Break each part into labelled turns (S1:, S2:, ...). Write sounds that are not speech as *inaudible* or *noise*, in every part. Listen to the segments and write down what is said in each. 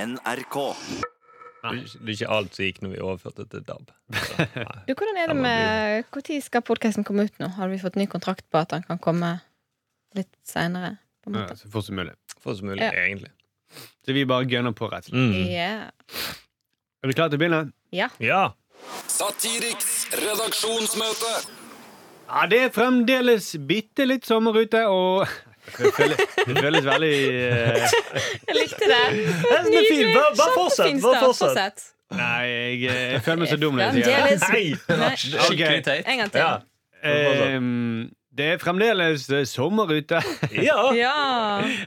S1: NRK.
S2: Det er ikke alt som gikk når vi overførte til DAB.
S3: *laughs*
S2: Så, nei.
S4: Du, hvordan er det
S2: Ja,
S4: med Når skal podkasten komme ut nå? Har vi fått ny kontrakt på at han kan komme litt seinere?
S3: Ja, så fort som mulig.
S2: Få som mulig,
S4: Ja.
S2: egentlig.
S3: Så vi bare gønner på, rett og slett.
S2: Mm.
S4: Yeah.
S3: Er du klar til å begynne?
S4: Ja.
S2: Ja.
S5: Satiriks redaksjonsmøte.
S3: Ja, det er fremdeles bitte litt sommer ute, og *laughs* det føles, det føles veldig eh,
S4: Jeg likte det.
S2: synes det er fint. Bare- bare fortsett,
S4: Kjempefint
S2: bare
S4: start.
S2: fortsett.
S3: Nei, jeg, eh, jeg føler meg så dum når jeg sier det.
S4: Fremdeles.
S2: Nei!
S4: Nei,
S3: Ok.
S2: Skikkelig teit.
S4: En gang til.
S2: Ja.
S3: Ehm, det er fremdeles eh, sommer ute.
S2: Ja.
S4: Ja.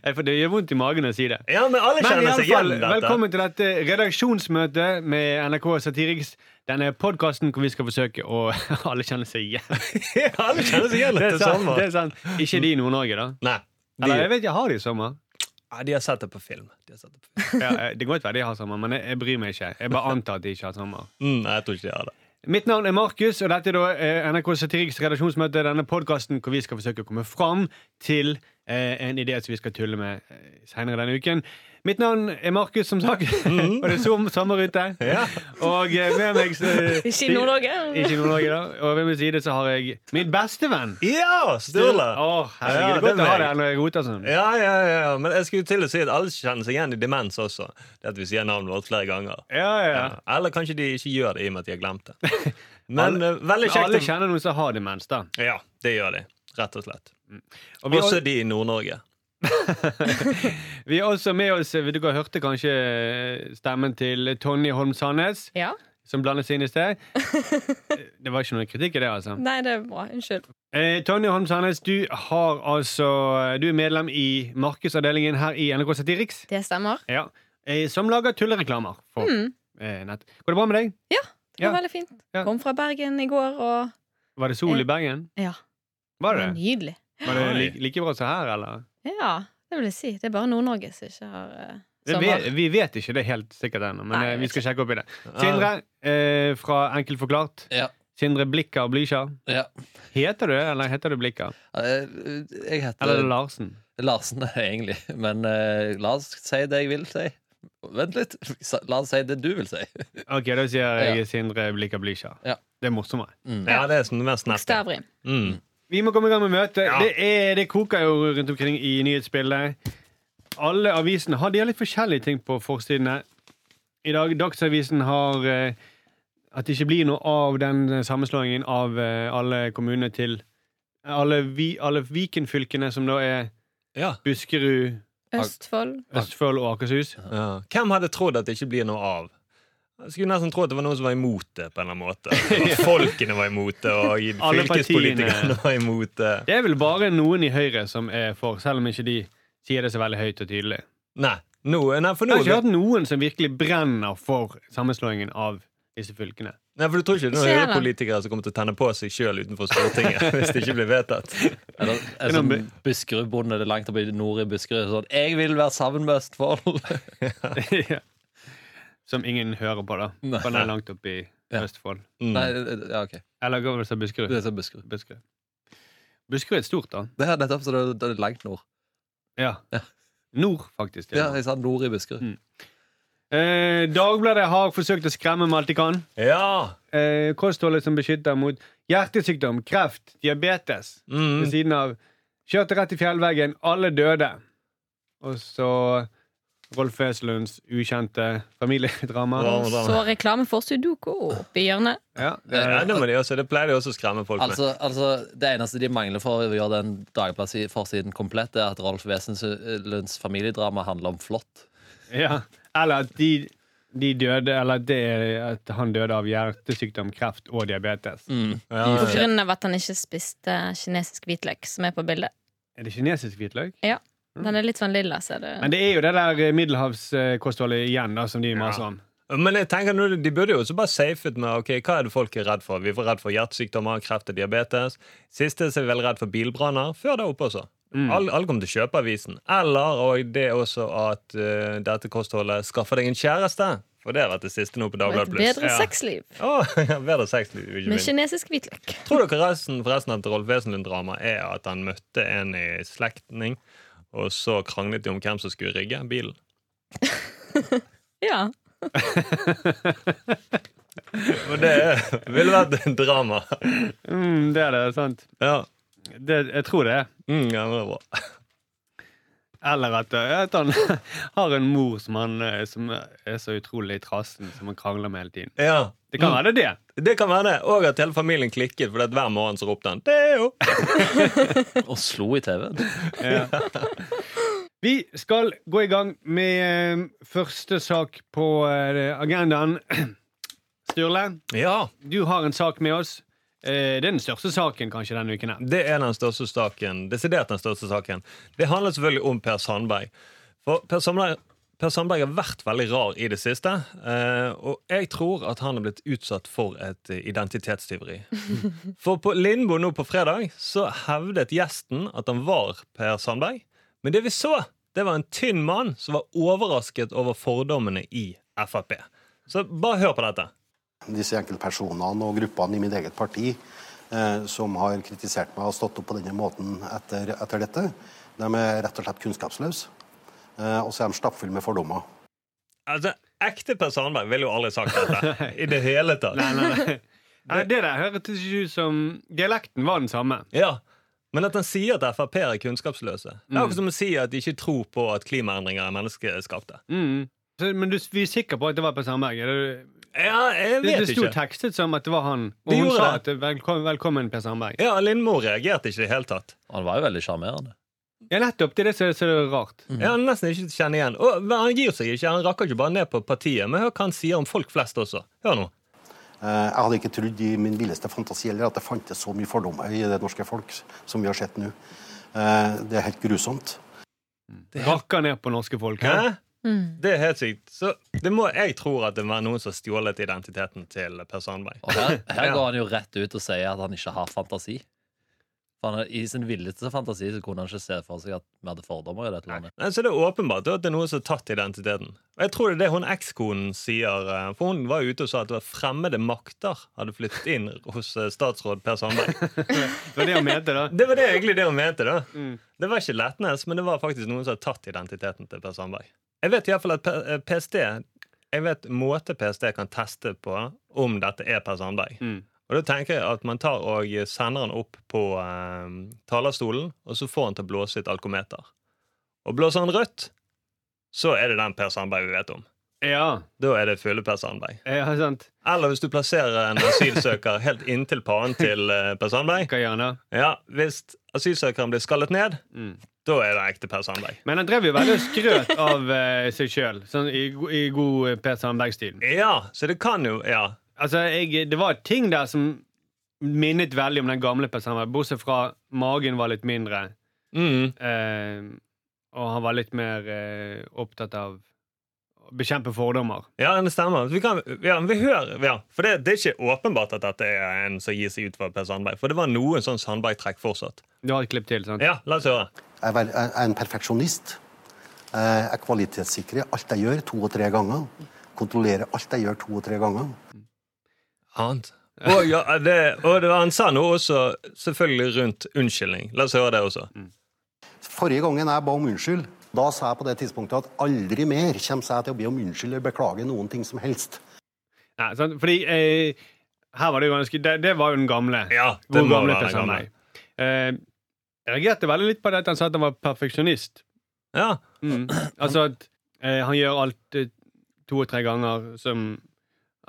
S3: Eh, For det gjør vondt i magen å si det.
S2: ja, men alle
S3: Men i
S2: kjenner
S3: alle
S2: seg igjen
S3: fall,
S2: i dette. *laughs*
S3: velkommen til dette redaksjonsmøtet med NRK Satiriks. Denne podkasten hvor vi skal forsøke å *laughs* Alle kjenner seg igjen.
S2: alle kjenner seg igjen
S3: Det
S2: litt
S3: er
S2: til
S3: sant.
S2: sommer.
S3: Det er sant. Ikke de i Nord-Norge, da.
S2: Nei. De,
S3: Eller jeg vet ikke, har de sommer?
S2: ja, de har sett det på film. De har sett det på film.
S3: Ja, eh, det kan godt være de har sommer, men jeg, jeg bryr meg ikke. Jeg bare antar at de ikke har sommer.
S2: Mm, nei, jeg tror ikke de har det.
S3: Mitt navn er Markus, og dette er da eh, NRK Satiriks redaksjonsmøte. Denne podkasten hvor vi skal forsøke å komme fram til eh, en idé som vi skal tulle med eh, senere denne uken. Mitt navn er Markus, som sagt, *laughs*
S4: Mhm.
S3: og det er som sommer ute. Og eh, med meg så,
S4: *laughs* Ikke i Nord-Norge.
S3: Ikke i Nord-Norge, da. Og ved min side så har jeg min bestevenn.
S2: Ja! Sturle!
S3: Å, herregud,
S2: Ja,
S3: det er godt
S2: det er
S3: å ha
S2: meg.
S3: deg når jeg roter sånn.
S2: Ja, ja, ja, ja. Men jeg skulle til å si at alle kjenner seg igjen i demens også. Det at vi sier navnet vårt flere ganger.
S3: Ja, ja, ja.
S2: Ja. Eller kanskje de ikke gjør det i og med at de har
S3: *laughs*
S2: glemt det. Men eh, veldig kjekt.
S3: Alle
S2: å-
S3: kjenner noen som har demens, da.
S2: Ja, det gjør de. Rett og slett.
S3: Og vi,
S2: Også de i Nord-Norge.
S3: vi er også med oss eh, Dere hørte kanskje eh, stemmen til Tonje Holm Sandnes.
S4: Ja.
S3: som blandes inn i
S4: *laughs*
S3: sted. Det var ikke noe kritikk i det, altså.
S4: Nei, det er bra. Unnskyld.
S3: Eh, Tonje Holm Sandnes, du, har altså, du er medlem i markedsavdelingen her i NRK Satiriks,
S4: Det stemmer.
S3: ja. eh, som lager tullereklamer for
S4: Mm.
S3: eh, nett. Går det bra med deg?
S4: Det var
S3: Ja.
S4: veldig fint.
S3: Ja.
S4: Kom fra Bergen i går, og
S3: Var det sol
S4: Eh,
S3: i Bergen?
S4: ja.
S3: Var
S4: det var
S3: det?
S4: nydelig.
S3: Var det
S2: Oi.
S3: like, like bra som her, eller?
S4: Ja, det vil jeg si. Det er bare Nord-Norge som ikke har eh,
S3: Det
S4: sommer.
S3: vet, vi vet ikke det helt sikkert ennå, men
S4: Nei,
S3: eh,
S4: jeg
S3: vi
S4: vet
S3: skal sjekke opp i det. Sindre eh, fra Enkelt forklart.
S6: Ja.
S3: Sindre Blikka og Blykja.
S6: Ja.
S3: Heter du det, eller heter du Blikka?
S6: Eh, Jeg heter
S3: Eller er det Larsen?
S6: Larsen, *laughs* egentlig. Men eh, la oss si det jeg vil si. Vent litt. Sa- La oss si det du vil si.
S3: Ok, da sier jeg
S6: Ja.
S3: Sindre Blikka Blykja.
S6: Ja.
S3: Det er morsommere.
S2: Ja, det er som det mest nette.
S4: Bokstavrim.
S2: Mm.
S3: Vi må komme i gang med møtet.
S2: Ja.
S3: Det, er, det koker jo rundt omkring i nyhetsbildet. Alle avisene har, de har litt forskjellige ting på forsidene. I dag, Dagsavisen har eh, at det ikke blir noe av den sammenslåingen av eh, alle kommunene til alle, vi, alle Viken-fylkene, som da er
S2: Ja.
S3: Buskerud,
S4: Østfold.
S3: Østfold og Akershus.
S2: Ja. Hvem hadde trodd at det ikke blir noe av? Jeg skulle nesten tro at det var noen som var imot det. på en eller annen måte At folkene var imot det, og
S3: Alle
S2: fylkespolitikerne
S3: partiene.
S2: *laughs* var imot det.
S3: Det er vel bare noen i Høyre som er for, selv om ikke de sier det så veldig høyt og tydelig.
S2: Nei, nå, nei for
S3: Jeg
S2: nå
S3: har ikke hørt noen som virkelig brenner for sammenslåingen av disse fylkene. *laughs*
S2: Nei, for Du tror ikke det er
S4: Ikke
S2: noen
S4: heller.
S2: Høyre-politikere som kommer til å tenne på seg sjøl utenfor Stortinget? *laughs* hvis det ikke blir vedtatt
S6: *laughs* Eller en sånn Buskerudbonde det er langt oppe i nord i Buskerud. Sånn, 'Jeg vil være sammen med Østfold'.
S3: ja. Som ingen hører på, da.
S6: Nei.
S3: For den er langt oppe i
S6: Ja.
S3: Østfold.
S2: mm.
S6: *laughs* Nei, eh, ja, ok.
S3: Eller går vel til Buskerud.
S6: Det er så Buskerud.
S3: Buskerud. Buskerud er stort, da.
S6: Det er nettopp så det, det er langt nord.
S3: Ja.
S6: Ja.
S3: Nord, faktisk.
S6: Ja,
S3: til og med.
S6: jeg sa nord i Buskerud.
S3: Eh, Dagbladet har forsøkt å skremme med alt de kan.
S2: Ja!
S3: Eh, kostholdet som beskytter mot hjertesykdom, kreft, diabetes. Ved
S2: Mm.
S3: siden av Kjørte rett i fjellveggen, alle døde. Og så Rolf Wesenlunds ukjente familiedrama.
S2: Bra, bra.
S4: Så reklame for Sudoku oppi hjørnet.
S3: Ja, det
S2: Ja, det, må de også, det pleier de også å skremme folk med.
S6: Altså, altså, Det eneste de mangler for å gjøre den dagbladforsiden komplett, er at Rolf Wesenlunds familiedrama handler om *laughs* flått.
S3: Ja, eller at de, de døde Eller at det, er at han døde av hjertesykdom, kreft og diabetes.
S2: Ja,
S4: På
S2: ja.
S4: grunn av at han ikke spiste kinesisk hvitløk, som er på bildet.
S3: Er det kinesisk hvitløk?
S4: Den er litt sånn lilla, ser du.
S3: Men det er jo det der eh, middelhavskostholdet igjen da, som de maser om.
S2: Men jeg tenker nå, de burde jo også bare safe ut med ok, hva er det folk er redd for. Vi var redd for hjertesykdommer, kreft og diabetes. Siste så er vi vel redd for bilbranner. Før der oppe også. Alle, alle kommer til å kjøpe avisen. Eller og det er også at eh, dette kostholdet skaffer deg en kjæreste. For det har vært det siste nå på
S4: Og
S2: Dagbladet
S4: et
S2: Pluss.
S4: bedre
S3: Ja.
S4: sexliv
S2: Åh, ja, bedre sexliv, ikke
S4: med
S2: minst.
S4: kinesisk hvitløk.
S2: Tror dere resten, forresten at Rolf Wesenlund-dramaet er at han møtte en i slektning, og så kranglet de om hvem som skulle rigge bilen?
S4: Ja.
S2: Og det er- ville vært en drama.
S3: Mm, det er det, sant.
S2: Ja.
S3: Det, jeg tror det. er.
S2: Mm, ja, men det er bra.
S3: Eller at, eh, at han *laughs* har en mor som, han, eh, som er så utrolig trassen, som han krangler med hele tiden.
S2: Ja.
S3: Det kan være det.
S2: *laughs*
S3: er det.
S2: Det kan være det. Og at hele familien klikket fordi at hver morgen så ropte han Theo!
S6: Og slo i TV-en.
S3: Eh. Vi skal gå i gang med eh, første sak på eh, agendaen. *clears throat* Sturle,
S2: Ja,
S3: du har en sak med oss. Eh, Det er den største saken kanskje denne uken.
S2: *laughs*
S3: her.
S2: det er den største saken. Desidert den største saken. Det handler selvfølgelig om Per Sandberg. For Per Sandberg, per Sandberg har vært veldig rar i det siste. eh, og jeg tror at han er blitt utsatt for et eh, identitetstyveri. For på Lindbo nå på fredag så hevdet gjesten at han var Per Sandberg. Men det vi så, det var en tynn mann som var overrasket over fordommene i Frp. Så bare hør på dette.
S1: disse enkeltpersonene og gruppene i mitt eget parti eh, som har kritisert meg og stått opp på denne måten etter, etter dette, de er rett og slett kunnskapsløse. Eh, og så er de stappfulle med fordommer.
S2: Altså, Ekte Per Sandberg ville jo aldri sagt dette. I det hele tatt.
S3: Nei, nei, nei. Nei, det der hørtes ikke ut som Dialekten var den samme.
S2: Ja, Men at han sier at Frp er kunnskapsløse. Det
S3: Mm.
S2: er akkurat som å si at de ikke tror på at klimaendringer er menneskeskapte.
S3: Mm. Så, men du, vi er sikre på at det var på Sandberg? Er Det,
S2: Ja, jeg
S3: det,
S2: vet
S3: det sto
S2: ikke.
S3: tekstet som at det var han. Og
S2: Det
S3: hun
S2: gjorde
S3: sa
S2: det.
S3: at velkommen, 'velkommen, Per Sandberg'.
S2: Ja, Lindmo reagerte ikke i det hele tatt.
S6: Han var jo veldig sjarmerende.
S3: Ja, nettopp. Det er det som er så rart.
S2: Ja, han nesten ikke kjenner igjen. Og men han gir seg ikke, han rakker ikke bare ned på partiet. Men hør hva han sier om folk flest også. Hør nå.
S1: Eh, jeg hadde ikke trodd i min villeste fantasi heller at det fantes så mye fordommer i det norske folk som vi har sett nå. Eh, det er helt grusomt.
S3: Rakker ned på norske folk.
S2: Hæ?
S3: ja.
S2: Det er helt sykt. Så det må, jeg tror at det var noen som har stjålet identiteten til Per Sandberg.
S6: Og her, her
S2: Ja.
S6: går han jo rett ut og sier at han ikke har fantasi. For han, I sin villeste fantasi så kunne han ikke se for seg at vi hadde fordommer i dette landet.
S2: Nei, Så det er åpenbart at det er noen som har tatt identiteten. Og jeg tror det er det hun ekskonen sier. eh, For hun var jo ute og sa at det var fremmede makter hadde flyttet inn hos eh, statsråd Per Sandberg.
S3: Det var det han mente, da.
S2: Det var det egentlig det hun mente, da. Det var ikke Letnes, men det var faktisk noen som hadde tatt identiteten til Per Sandberg. Jeg vet iallfall at P- eh, PST Jeg vet måte PST kan teste på om dette er Per Sandberg.
S3: Mm.
S2: Og da tenker jeg at man tar og sender han opp på eh, talerstolen, og så får han til å blåse et alkometer. Og blåser han rødt, så er det den Per Sandberg vi vet om.
S3: Ja,
S2: Da er det fulle Per Sandberg.
S3: ja sant.
S2: Eller hvis du plasserer en asylsøker helt inntil pannen til eh, Per Sandberg.
S3: Hva gjør han da?
S2: Ja, Hvis asylsøkeren blir skallet ned,
S3: Mm.
S2: da er det ekte Per Sandberg.
S3: Men han drev jo veldig og skrøt av eh, seg sjøl, sånn i, go- i god eh, Per Sandberg-stil.
S2: Ja, så det kan jo Ja.
S3: Altså, jeg, Det var ting der som minnet veldig om den gamle Per Sandberg, bortsett fra magen var litt mindre,
S2: Mm.
S3: eh, og han var litt mer eh, opptatt av å bekjempe fordommer.
S2: Ja, det stemmer. Vi, kan, ja, vi hører, ja. For det, det er ikke åpenbart at dette er en som gir seg ut for Per Sandberg. For det var noen sånn Sandberg-trekk fortsatt.
S3: Du har et klipp til, sant?
S2: Ja, la oss høre.
S1: Jeg er vel- jeg er en perfeksjonist. Eh, Jeg kvalitetssikrer alt jeg gjør, to og tre ganger. Kontrollerer alt jeg gjør, to og tre ganger.
S2: Annet. Og, ja, det, og det, han sa noe også selvfølgelig rundt unnskyldning. La oss høre det også.
S3: Mm.
S1: Forrige gangen jeg ba om unnskyld, da sa jeg på det tidspunktet at aldri mer kommer jeg til å be om unnskyld eller beklage noen ting som helst.
S3: Nei, sant? Fordi eh, her var det jo ganske Det, det var jo den gamle.
S2: Ja, det
S3: God
S2: må
S3: gamle
S2: være
S3: Per
S2: den gamle.
S3: Sandberg. Eh, jeg reagerte veldig litt på det at han sa at han var perfeksjonist.
S2: Ja,
S3: Mm. *clears throat* Altså at eh, han gjør alt eh, to og tre ganger som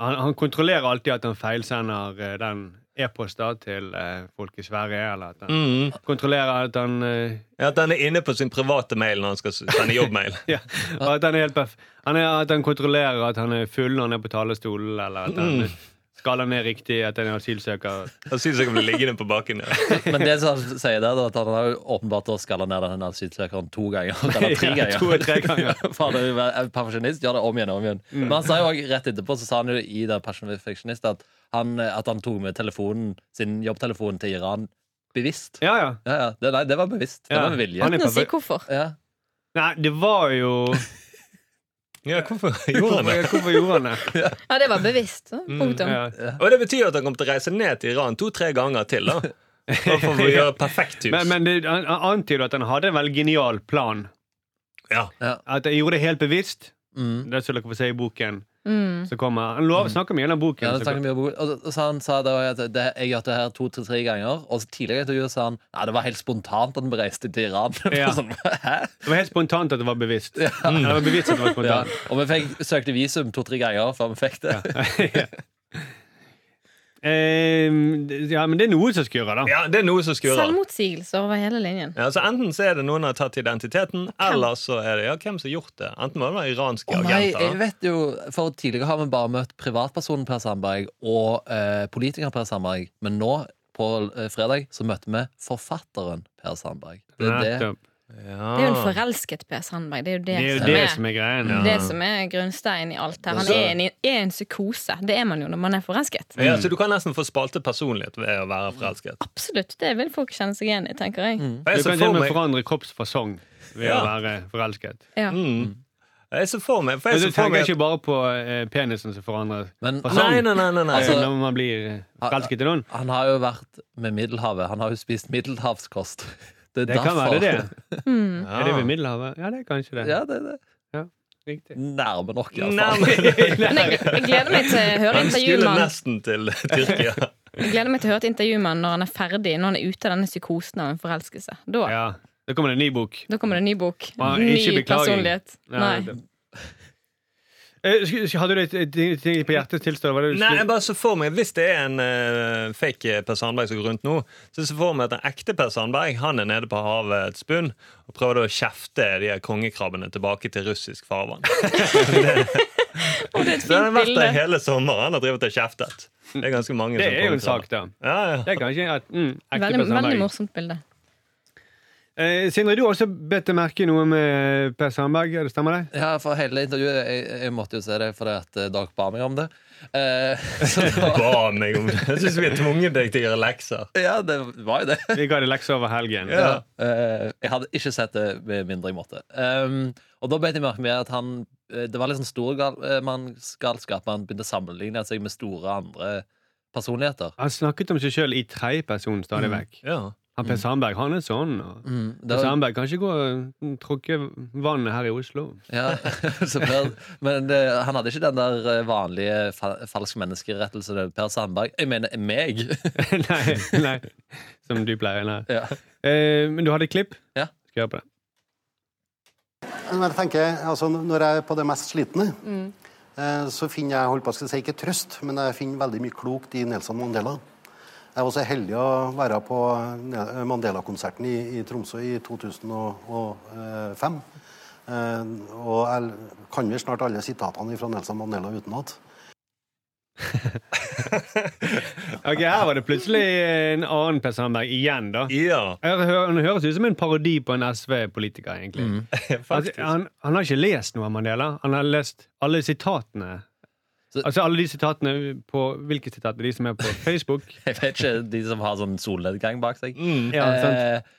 S3: Han, han kontrollerer alltid at han feilsender eh, den e-posta til eh, folk i Sverige, eller at han
S2: mm.
S3: kontrollerer at han eh, *laughs*
S2: At han er inne på sin private mail når han skal sende jobbmail.
S3: ja, At han er helt perf han er, At han kontrollerer at han er full når han er på talerstolen, eller at han
S2: Mm.
S3: eh, skaller ned riktig, at han er asylsøker.
S2: Han synes jeg blir liggende på bakken. Ja.
S6: Men det som han sier der, er at han har jo åpenbart da skalla ned den asylsøkeren to
S3: *laughs*
S6: ganger. Eller tre
S3: Ja,
S6: ganger.
S3: to og tre ganger.
S6: *laughs*
S3: Mm.
S6: For han er jo en perfeksjonist. Gjør det om igjen og om igjen. Men han sa jo også rett etterpå så sa han jo i det perfeksjonist at, han- at han tok med telefonen, sin jobbtelefon til Iran bevisst.
S3: Ja, ja.
S6: Ja, ja. Det, nei, det var bevisst. Det
S3: Ja.
S6: var med vilje.
S3: Han er
S4: Uten å si
S3: perfekt.
S4: hvorfor.
S6: Ja.
S3: Nei, det var jo
S2: Ja,
S3: *laughs*
S2: hvorfor gjorde han det?
S3: Hvorfor, hvorfor gjorde han det?
S2: *laughs*
S4: Ja, det var bevisst. så. Punktum.
S3: Mm, Ja.
S2: Og det betyr at han kommer til å reise ned til Iran to-tre ganger til. da Bare
S3: *laughs*
S2: for å gjøre perfekt hus.
S3: Men, men det, han han antyder at han hadde en veldig genial plan.
S2: Ja.
S3: At han gjorde det helt bevisst,
S6: Mm.
S3: Det som dere får se i boken
S4: Mm.
S3: som kommer. Han lov, snakker mye om boken.
S6: Ja, det
S3: som-
S6: snakket mye om boken. og og så han sa det, at det, jeg gjør det her to til tre ganger. Og så tidligere i intervjuet sa han Nei, det var helt spontant at vi reiste til Iran. *laughs*
S3: Ja.
S6: sånn, Hæ?
S3: det var helt spontant at det var bevisst. Ja, det var bevisst at det var
S6: Ja.
S3: spontant.
S6: Og vi fikk, søkte visum to-tre ganger før vi fikk det.
S3: *laughs* Ehm, ja, men det er noe som skurrer, da.
S2: Ja, det er noe som skurrer.
S4: Selvmotsigelser over hele linjen.
S2: Ja, så Enten så er det noen som har tatt identiteten, eller så er det ja, hvem som har gjort det. Enten må det være iranske
S6: Å nei, jeg
S2: agenter.
S6: vet jo For tidligere har vi bare møtt privatpersonen Per Sandberg og eh, politiker Per Sandberg, men nå, på eh, fredag, så møtte vi forfatteren Per Sandberg. Det er det.
S3: Nettopp.
S2: Ja.
S4: Det er jo en forelsket Per Sandberg. Det er jo det,
S3: Ah. Det
S4: som,
S3: er jo det
S4: er,
S3: som er greien.
S4: det som er grunnsteinen i alt her. Han
S6: Så-
S4: er en, er en psykose. Det er man jo når man er forelsket.
S2: Ja,
S3: Mm.
S2: så du kan nesten få spalte personlighet ved å være forelsket.
S4: Absolutt. Det vil folk kjenne seg igjen i, tenker jeg.
S2: Og
S3: Du
S2: jeg så
S3: kan til
S2: for
S3: og med
S2: meg,
S3: forandre kroppsfasong ved å
S2: Ja.
S3: være forelsket.
S4: Ja.
S2: mm, jeg så for meg, for
S3: Men
S2: jeg
S3: du
S2: så for
S3: tenker
S2: meg
S3: ikke sånn? bare på eh, penisen som forandrer
S6: Men
S3: fasong
S2: Nei, nei, nei. nei, nei.
S6: Altså-
S3: når man blir eh, forelsket i noen.
S6: han har jo vært med Middelhavet. Han har jo spist middelhavskost. *laughs* Det, er
S3: Det kan være det.
S2: Ja.
S3: Er det ved Middelhavet? Ja, det er kanskje det.
S6: *laughs* Ja, det er det.
S3: Riktig.
S6: Nærme nok,
S2: Nei, *laughs*
S3: altså?
S6: iallfall.
S2: men
S4: Men jeg, jeg gleder meg til å høre
S2: Han skulle
S4: intervjuet med han.
S2: nesten til
S3: *laughs*
S2: Tyrkia.
S4: Jeg gleder meg til å høre et intervju med han når han er ferdig, når han er ute av denne psykosen av en forelskelse. Da,
S3: Ja. Da kommer det en ny bok.
S4: da kommer det en ny bok.
S3: Ja, ikke
S4: Ny
S3: beklaging.
S4: personlighet. Nei.
S3: Eh, sk- sk- Hadde du et- et ting- ting på hjertet tilstå? Var det du
S2: Nei,
S3: skulle-
S2: jeg bare så for meg Hvis det er en eh, fake Per Sandberg som går rundt nå, så så for meg at den ekte Per Sandberg Han er nede på havets bunn og prøver da å kjefte de her kongekrabbene tilbake til russisk
S4: *laughs*
S2: farvann. *laughs*
S4: Å, det er et
S2: Så han har
S4: fint
S2: vært der
S4: bilde.
S2: hele sommeren han har drevet og kjeftet. Det er ganske mange
S3: Det
S2: som
S3: er jo en
S2: kongekrabber.
S3: sak, da. Det
S2: Ja, ja.
S3: er kanskje at mm, ekte
S4: Veldig,
S3: personer.
S4: veldig morsomt bilde.
S3: Eh, Sindre, du har også bedt deg merke noe med Per Sandberg. Er det stemmer det?
S6: Ja, for hele intervjuet Jeg, jeg måtte jo se det fordi at eh, dere ba meg om det. Eh, *laughs* så det var,
S2: Ba meg om det. Jeg syns vi er tvunget deg til å gjøre lekser.
S6: ja, det var jo det.
S3: Vi ga det lekser over helgen.
S2: Ja.
S6: Eh, jeg hadde ikke sett det med mindre jeg måtte. Um, og da beit jeg merke med at han eh, Det var litt sånn stormannsgalskap. Han begynte å sammenligne seg med store andre personligheter.
S3: Han snakket om seg sjøl i tredjeperson stadig vekk.
S2: Ja.
S3: Han
S2: Mm.
S3: Per Sandberg, han er sånn. Og
S6: Mm, det
S3: Per
S6: var-
S3: Sandberg kan ikke gå og tråkke vannet her i Oslo.
S6: Ja, *laughs* så per, men eh, han hadde ikke den der eh, vanlige fa falsk menneskerettelse det er Per Sandberg. Jeg mener meg! *laughs*
S3: *laughs* nei, nei. Som du pleier. Nei.
S6: ja.
S3: Eh, men du hadde et klipp?
S6: Ja.
S3: Skal jeg høre på det?
S1: Men jeg tenker, altså, når jeg er på det mest slitne, eh, så finner jeg holdt på, å skal si, ikke trøst, men jeg finner veldig mye klokt i Nelson Mandela. Jeg var så heldig å være på Ne- Mandela-konserten i, i Tromsø i 2005. Eh, og jeg kan vel snart alle sitatene fra Nelson Mandela utenat.
S3: Ok, Her var det plutselig en annen Per Sandberg igjen, da.
S2: ja.
S3: Her hø- Han høres ut som en parodi på en SV-politiker, egentlig.
S6: Mm.
S3: *laughs*
S6: *laughs*
S3: Altså,
S2: Faktisk.
S3: han, han har ikke lest noe av Mandela. Han har lest alle sitatene.
S6: Så-
S3: altså alle de sitatene på Hvilke sitater? De som er på
S6: *laughs*
S3: Facebook?
S6: Jeg vet ikke de som har sånn solnedgang bak seg.
S2: Mm.
S3: Ja, sant?
S6: Eh,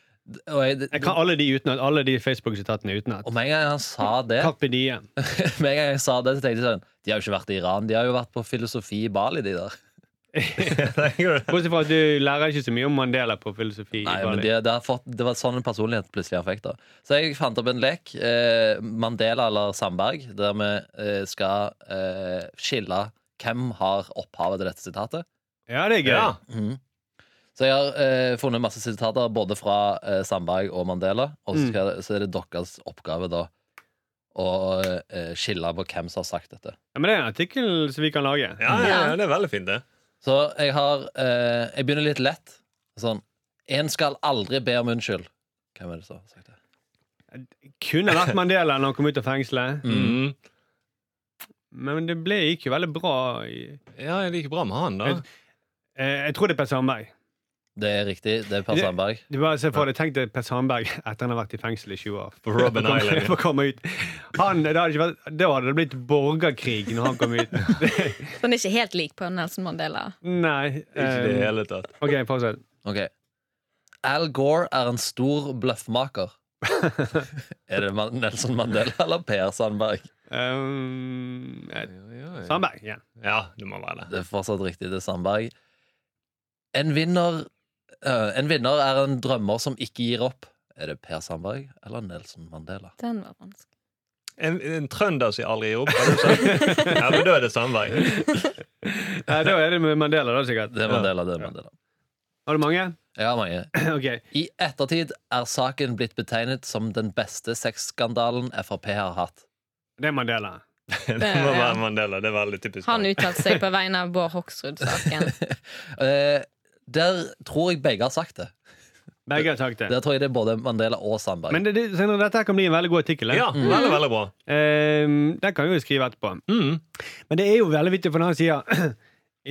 S6: og jeg,
S3: Jeg kan alle de utenat. Alle de Facebook-sitatene utenat.
S6: og med en gang han sa det,
S3: Carpe diem.
S6: *laughs* med en gang jeg sa det, så tenkte jeg sånn De har jo ikke vært i Iran, de har jo vært på filosofi i Bali, de der.
S3: Bortsett fra at du lærer ikke så mye om Mandela på filosofi. i
S6: Nei, men
S3: Bali.
S6: det, det, har fått, det var sånn en personlighet plutselig jeg fikk da. Så jeg fant opp en lek, eh, Mandela eller Sandberg, der vi eh, skal eh, skille hvem har opphavet til dette sitatet.
S3: Ja, det er gøy.
S2: Ja.
S6: Mhm.
S3: Mm.
S6: Så jeg har eh, funnet masse sitater både fra eh, Sandberg og Mandela,
S3: Mm.
S6: og så, skal, så er det deres oppgave da å eh, skille på hvem som har sagt dette.
S3: Ja, men det er en artikkel som vi kan lage.
S2: Ja, ja, ja, det er veldig fint, det.
S6: Så jeg har eh, Jeg begynner litt lett. Sånn En skal aldri be om unnskyld. Hvem er det som har sagt det?
S3: Kunne vært Mandela når han kom ut av fengselet,
S2: Mm.
S3: men det ble, gikk jo veldig bra. i-
S2: Ja, jeg liker bra med han, da.
S3: Eh, jeg tror det er Per Sandberg.
S6: Det er riktig. Det er Per
S3: Det-
S6: Sandberg.
S3: Du bare se for deg, Tenk deg Per Sandberg *laughs* etter han har vært i fengsel i 20 år.
S2: På Robben
S3: For å komme-
S2: Island, ja.
S3: *laughs* for å komme ut. Han, det hadde ikke vært, da hadde det blitt borgerkrig når han kom
S2: *laughs*
S3: ut. Det-
S4: Så han er ikke helt lik på Nelson Mandela.
S3: Nei.
S2: Ikke i det
S3: eh,
S2: hele tatt.
S3: OK, fortsett.
S6: Ok Al Gore er en stor bløffmaker. *laughs* er det Man- Nelson Mandela *laughs* eller Per Sandberg?
S3: Um, eh, Sandberg. Ja.
S2: Ja, det må være det.
S6: Det er fortsatt riktig, det er Sandberg. En vinner eh, En vinner er en drømmer som ikke gir opp. Er det Per Sandberg eller Nelson Mandela?
S4: Den var vanskelig.
S2: En, en trønder sier aldri opp. Har du sagt? Ja, men da er det Sandberg. *laughs*
S3: Nei, Eh, da er det med Mandela, da, sikkert.
S6: Det er Mandela, det er Mandela.
S3: Har du mange? *clears throat*
S6: Jeg har mange.
S3: Ok.
S6: I ettertid er saken blitt betegnet som den beste sexskandalen Frp har hatt.
S3: Det er Mandela.
S2: Det må være Mandela. Det er veldig typisk.
S4: Han uttalte seg på vegne av Bård
S3: *laughs*
S4: Hoksrud-saken.
S6: Eh, der tror jeg begge har sagt det.
S3: Begge har sagt det.
S6: Der tror jeg det er både Mandela og Sandberg.
S3: Men det, det, Sindre, dette her kan bli en veldig god artikkel. eh?
S2: Ja, veldig, veldig bra.
S3: Eh, den kan vi jo skrive etterpå.
S2: Mm.
S3: Men det er jo veldig viktig, for når han sier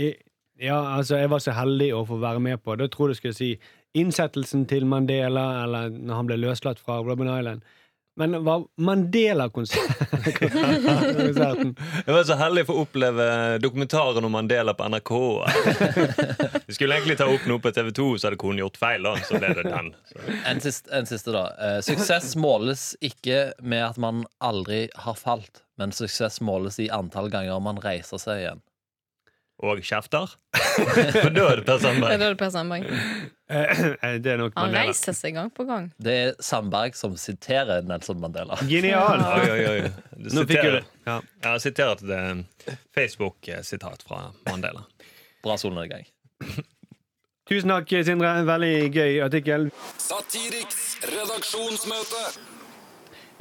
S3: *clears throat* «I- Ja, altså, jeg var så heldig å få være med på Da tror jeg du skulle si innsettelsen til Mandela, eller når han ble løslatt fra Robben Island. Men det var *laughs* Mandela-konserten
S2: Jeg var så heldig for å oppleve dokumentaren om Mandela på NRK. *laughs* Vi skulle egentlig ta opp noe på TV 2, så hadde konen gjort feil. da, Så ble det den. Så.
S6: En siste, en siste da. Eh, suksess måles ikke med at man aldri har falt, men suksess måles i antall ganger man reiser seg igjen.
S2: Og kjefter. *laughs* For da er det Per
S4: Det er
S2: Sandberg.
S4: da det Per Sandberg.
S3: Eh, Det er nok
S4: Han
S3: Mandela.
S4: reiser seg gang på gang.
S6: Det er Sandberg som siterer Nelson Mandela.
S3: Genial!
S2: Oi, oi, oi. Du
S3: Nå fikk jeg
S2: siterer.
S3: det. Ja.
S2: Jeg har sitert et Facebook-sitat fra Mandela.
S6: Bra solnedgang.
S3: Tusen takk, Sindre. Veldig gøy artikkel.
S5: Satiriks redaksjonsmøte.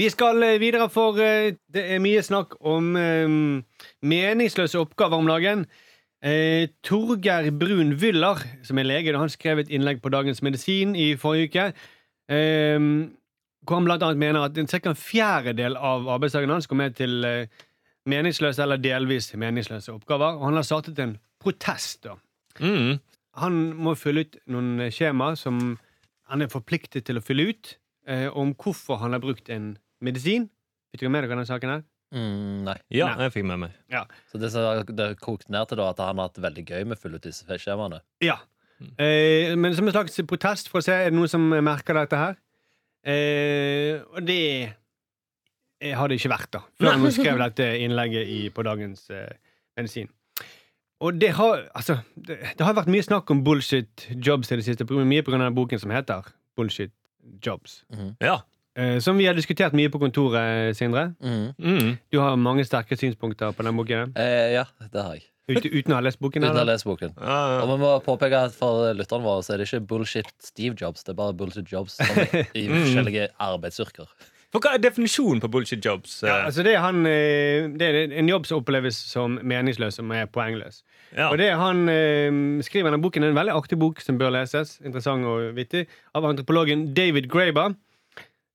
S3: Vi skal eh, videre, for eh, det er mye snakk om eh, meningsløse oppgaver om dagen. Eh, Torgeir Brun Wyller, som er lege, da han skrev et innlegg på Dagens Medisin i forrige uke, eh, hvor han blant annet mener at ca. en fjerdedel av arbeidsdagen hans går med til eh, meningsløse eller delvis meningsløse oppgaver. Og han har startet en protest. da.
S2: Mm.
S3: Han må fylle ut noen eh, skjema som han er forpliktet til å fylle ut, eh, om hvorfor han har brukt en medisin. Vet dere med dere denne saken her?
S6: Mm, nei.
S2: Ja,
S3: Nei.
S2: jeg fikk med meg.
S6: Så det som er- det er kokt ned til da, at han har hatt det veldig gøy med å fylle ut disse skjemaene.
S3: Ja. Eh, men som en slags protest for å se er det noen som merker dette her. Eh, og det eh, har det ikke vært, da, før han skrev dette innlegget i, på Dagens eh, Medisin. Og det har, altså, det, det har vært mye snakk om bullshit jobs i det siste, på grunn- mye pga. boken som heter Bullshit Jobs.
S2: Ja.
S3: Eh, som vi har diskutert mye på kontoret, Sindre.
S6: Mm.
S2: Mm.
S3: Du har mange sterke synspunkter på den boken.
S6: Eh, ja, det har jeg.
S3: Ut, uten å ha lest boken?
S6: Uten å ha
S3: Eller?
S6: lest boken.
S2: Ja, ja.
S6: Og vi må påpeke at for lytterne våre så er det ikke bullshit Steve Jobs, det er bare bullshit jobs som er
S3: *laughs*
S6: i
S3: Mm.
S6: forskjellige arbeidsyrker.
S2: For hva er definisjonen på bullshit jobs?
S3: Ja, altså det, er han, eh, det er en jobb som oppleves som meningsløs, som er poengløs.
S2: Ja.
S3: Og det er han eh, skriver denne boken, en veldig artig bok som bør leses, interessant og vittig, av antropologen David Graber,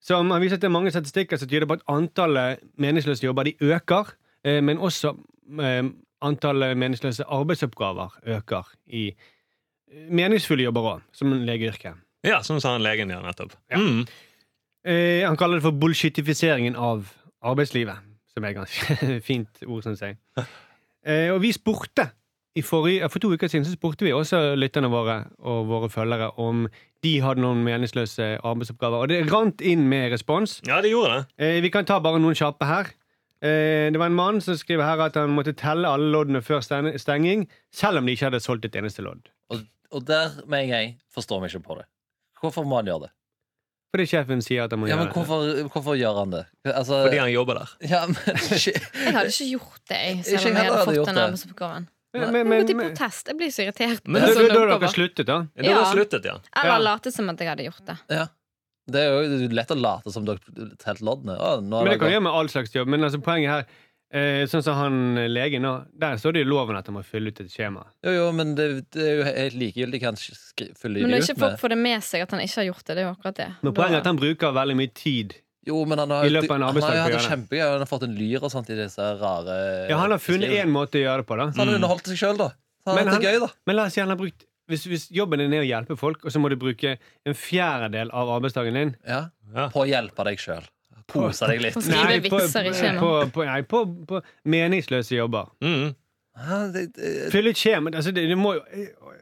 S3: som har vist at det er mange statistikker som tyder på at antallet meningsløse jobber de øker, eh, men også eh, antallet meningsløse arbeidsoppgaver øker i eh, meningsfulle jobber òg, som legeyrket.
S2: Ja, sånn sa han legen ja, nettopp.
S3: Ja.
S2: Mm.
S3: Eh, han kaller det for bullshitifiseringen av arbeidslivet, som er ganske *laughs* fint ord, syns jeg. Eh, og vi spurte i forrige, For to uker siden så spurte vi også lytterne våre og våre følgere om de hadde noen meningsløse arbeidsoppgaver, og det rant inn med respons.
S2: Ja, det gjorde det.
S3: Eh, vi kan ta bare noen kjappe her. Eh, det var en mann som skriver her at han måtte telle alle loddene før steng- stenging, selv om de ikke hadde solgt et eneste lodd.
S6: Og, og der med en gang forstår vi ikke på det. Hvorfor må han gjøre det?
S3: Fordi sjefen sier at han må
S6: Ja, men
S3: gjøre det.
S6: hvorfor, hvorfor gjør han det? Altså,
S2: Fordi han jobber der.
S6: ja, men,
S4: Jeg hadde ikke gjort det, jeg,
S6: Ikke
S4: selv om jeg
S6: heller
S4: hadde
S6: hadde
S4: fått
S6: gjort
S4: den
S6: det.
S4: arbeidsoppgaven.
S3: Men,
S4: Jeg
S3: men,
S4: må
S3: men,
S4: til protest. Jeg blir så irritert.
S3: da
S4: på
S3: da-
S4: sånne
S3: da har dere
S4: oppgaver.
S3: sluttet, da?
S2: Det var
S4: Ja.
S2: sluttet, ja.
S4: Eller
S3: Ja.
S4: late som at jeg hadde gjort det.
S6: ja. Det er jo lett å late som dere telte loddene. Å, nå har
S3: Men det
S6: det
S3: kan du
S6: gått-
S3: gjøre med all slags jobb. Men altså, poenget her eh, Sånn som han eh, legen nå, der står det i loven at han må fylle ut et skjema.
S6: Jo, jo, men det, det er jo helt likegyldig hva han skri- fyller
S4: Men
S6: det
S4: når
S6: ut
S4: ikke folk
S6: med.
S4: får det med seg at han ikke har gjort det, det er jo akkurat det.
S3: Men poenget er at han bruker veldig mye tid.
S6: Jo, men han har,
S3: I løpet av en
S6: han har
S3: arbeidsdag
S6: jo
S3: på
S6: hatt
S3: å
S6: det
S3: gjøre
S6: kjempegøy. Han har fått en lyr og sånt i disse rare
S3: Ja, Han har funnet én
S6: beskrivelsene.
S3: måte å gjøre det på, da.
S6: Så han har underholdt seg sjøl, da. Så han
S3: Men
S6: har hatt Mm. det
S3: han-
S6: gøy, da.
S3: Men la oss si han har brukt hvis, hvis jobben din er å hjelpe folk, og så må du bruke en fjerdedel av arbeidsdagen din
S6: Ja.
S2: Ja.
S6: På å hjelpe deg sjøl. Kose deg
S3: *laughs*
S6: litt.
S4: På skrive
S3: på,
S4: vitser i skjema.
S3: på, på, nei, på, på meningsløse jobber.
S2: Mm.
S6: Hæ, det- det-
S3: Fylle ut skjema altså, det, det må, jo-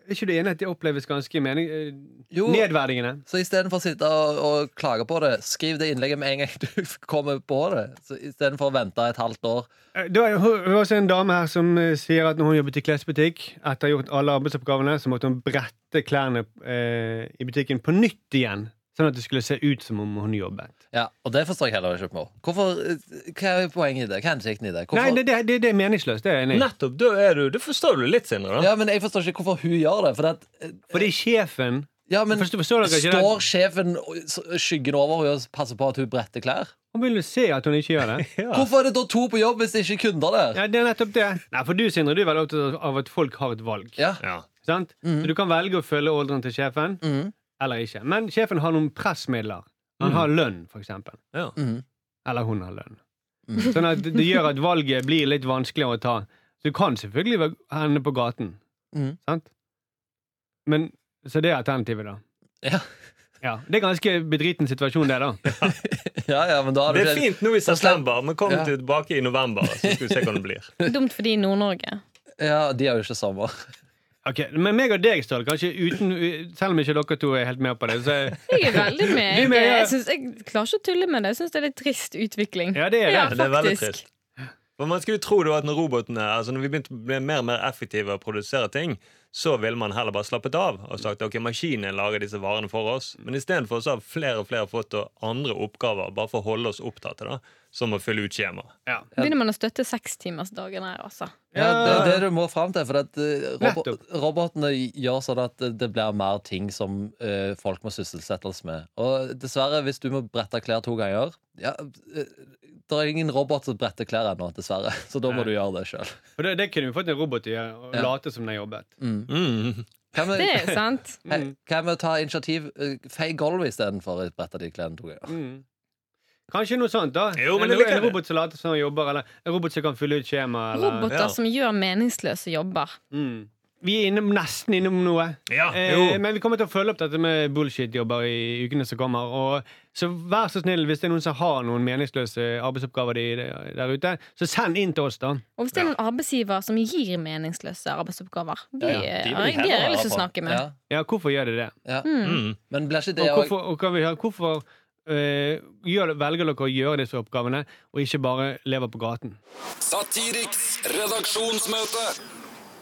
S3: Er ikke du enig at det oppleves ganske mening, eh,
S6: Jo,
S3: nedverdigende?
S6: så istedenfor å sitte og, og klage på det, skriv det innlegget med en gang *laughs* du kommer på det. Så Istedenfor å vente et halvt år.
S3: Det var hun- hun var også en dame her som eh, sier at når hun jobbet i klesbutikk, etter å ha gjort alle arbeidsoppgavene, så måtte hun brette klærne eh, i butikken på nytt igjen Sånn at det skulle se ut som om hun jobbet.
S6: Ja, og det forstår jeg heller ikke på. Hvorfor, eh, hva er poenget i det? Hva er hensikten i det? Hvorfor,
S3: Nei, det, det, det, det er meningsløst. Det er jeg enig i.
S2: Nettopp, da er du, det forstår du litt, Sindre. da.
S6: Ja, men Jeg forstår ikke hvorfor hun gjør det. For det at, eh,
S3: Fordi sjefen
S6: ja, men
S3: Forstår- forstår dere ikke det?
S6: Står sjefen skyggen over henne og passer på at hun bretter klær?
S3: Han vil jo se at hun ikke
S6: *laughs*
S3: gjør det.
S2: Ja.
S6: Hvorfor er det da to på jobb hvis det ikke er kunder der?
S3: Ja, det er nettopp det. Nei, For du, Sindre, du er veldig opptatt av at folk har et valg.
S6: Ja,
S2: Ja.
S3: Sant?
S6: Mhm.
S3: Så du kan velge å følge ordren til sjefen
S6: Mhm.
S3: eller ikke. Men sjefen har noen pressmidler. Han har lønn, for eksempel.
S2: Ja.
S6: Mhm.
S3: Eller hun har lønn.
S6: Mhm.
S3: Sånn at det gjør at valget blir litt vanskeligere å ta. Så du kan selvfølgelig være- hende på gaten.
S6: Mhm.
S3: Sant? Men, så det er alternativet, da.
S6: ja.
S3: Ja, Det er ganske bedriten situasjon, det, da.
S6: ja, ja men da har du
S2: Det er
S6: ikke-
S2: fint nå i september, men kom
S6: Ja.
S2: tilbake i november, så skal vi se hvordan det blir.
S4: Dumt fordi i Nord-Norge.
S6: Ja, De har jo ikke sommer.
S3: Ok, Men meg og deg, Ståle, kanskje uten Selv om ikke dere to er helt med på det, så er-
S4: *laughs* Jeg er
S3: *laughs*
S4: veldig med.
S3: Du er
S4: Jeg,
S3: med, ja.
S4: jeg, synes, jeg klarer ikke å tulle med det. Jeg syns det er litt trist utvikling.
S3: Ja, det er det.
S4: Ja,
S2: Det er veldig
S4: faktisk.
S2: trist. For man skulle tro da at når robotene Altså når vi begynte å bli mer og mer effektive og produsere ting, så ville man heller bare slappet av og sagt ok, maskinene lager disse varene for oss. Men istedenfor så har flere og flere fått da andre oppgaver bare for å holde oss opptatt, da, som å fylle ut skjema.
S3: Ja.
S4: Begynner man å støtte sekstimersdagen her, altså.
S6: Ja, det er det du må fram til. For at eh, robo
S3: Nettopp.
S6: robotene gjør sånn at det blir mer ting som eh, folk må sysselsettes med. Og dessverre, hvis du må brette klær to ganger ja, eh, Det er ingen robot som bretter klær ennå, dessverre. *laughs* Så da må
S3: Nei.
S6: du gjøre det sjøl.
S3: Og det, det kunne vi fått en robot til å gjøre, og
S6: Ja.
S3: late som den jobbet.
S2: Mm.
S6: Hva med
S4: Det er
S3: *laughs*
S4: sant.
S6: hei, hva med å ta initiativ? eh, Fei gulvet istedenfor å brette de klærne to ganger.
S3: Mm. Kanskje noe sånt, da.
S2: Jo, men
S3: en,
S2: det liker
S3: en
S2: jeg.
S3: robot som later som den jobber, eller en robot som kan fylle ut skjema. Eller,
S4: Roboter
S2: Ja.
S4: som gjør meningsløse jobber.
S3: Mm. Vi er innom, nesten innom noe.
S2: Ja, *laughs*
S3: Eh, men vi kommer til å følge opp dette med bullshit-jobber i ukene som kommer. Og, så vær så snill, hvis det er noen som har noen meningsløse arbeidsoppgaver de, der ute, så send inn til oss, da.
S4: Og hvis det er noen arbeidsgiver som gir meningsløse arbeidsoppgaver, de,
S6: Ja,
S4: ja,
S6: ja,
S4: de,
S6: de vil jeg
S4: har jeg
S6: heller
S4: lyst til å
S6: høre på.
S4: snakke med.
S6: Ja,
S3: Ja, hvorfor gjør de det?
S6: ja.
S2: Mm.
S6: Men blir ikke
S3: Og
S6: det òg
S3: hvorfor, og kan vi høre, hvorfor eh, gjør, velger dere å gjøre disse oppgavene, og ikke bare lever på gaten?
S5: Satiriks redaksjonsmøte.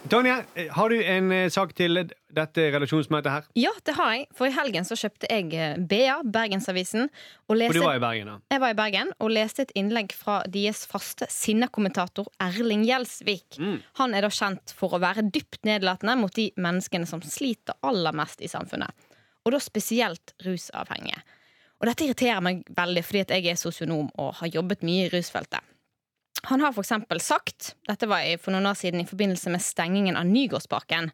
S3: Tonje, eh, har du en eh, sak til dette redaksjonsmøtet her?
S4: Ja, det har jeg. For i helgen så kjøpte jeg eh, BA, Bergensavisen, og
S3: For du
S4: leste
S3: var i Bergen, da.
S4: Jeg var i Bergen og leste et innlegg fra deres faste sinna-kommentator Erling Gjelsvik. Han er da kjent for å være dypt nedlatende mot de menneskene som sliter aller mest i samfunnet. Og da spesielt rusavhengige. Og dette irriterer meg veldig, fordi at jeg er sosionom og har jobbet mye i rusfeltet. Han har f.eks. sagt, dette var i- for noen år siden i forbindelse med stengingen av Nygårdsparken,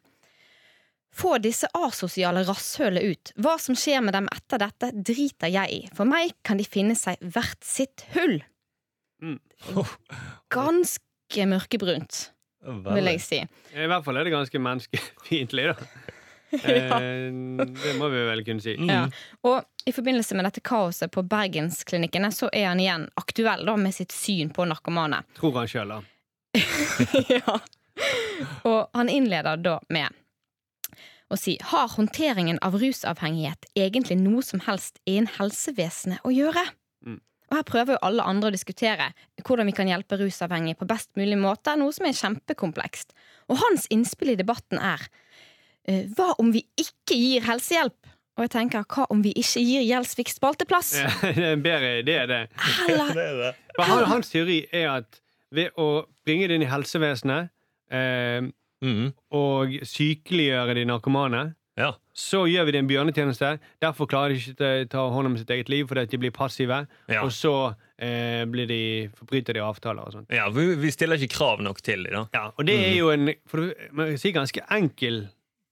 S4: få disse asosiale rasshølet ut. Hva som skjer med dem etter dette, driter jeg i. For meg kan de finne seg hvert sitt hull.
S3: Mm.
S4: *laughs* Ganske mørkebrunt, vil jeg si.
S3: I hvert fall er det ganske menneskefiendtlig,
S4: *laughs*
S3: da.
S4: Ja.
S3: Eh, Det må vi vel kunne si.
S4: Ja. Og i forbindelse med dette kaoset på Bergensklinikkene, så er han igjen aktuell da, med sitt syn på narkomane.
S3: Tror han sjøl, da. *laughs*
S4: ja. Og han innleder da med å si Har håndteringen av rusavhengighet egentlig noe som helst innen helsevesenet å gjøre?
S3: Mm.
S4: Og her prøver jo alle andre å diskutere hvordan vi kan hjelpe rusavhengige på best mulig måte, noe som er kjempekomplekst. Og hans innspill i debatten er eh, Hva om vi ikke gir helsehjelp? Og jeg tenker, hva om vi ikke gir Gjelsvik spalteplass?
S3: Ja, Det er en bedre idé, det.
S4: Heller
S2: Det er det.
S3: Men han, hans teori er at ved å bringe det inn i helsevesenet eh,
S2: Mm.
S3: og sykeliggjøre de narkomane,
S2: Ja.
S3: så gjør vi det en bjørnetjeneste. Derfor klarer de ikke å ta hånd om sitt eget liv fordi at de blir passive.
S2: Ja.
S3: Og så eh, blir de, forbryter de avtaler og sånt.
S2: ja, vi, vi stiller ikke krav nok til dem, da.
S3: Ja, og det er jo en for du, man kan si ganske enkel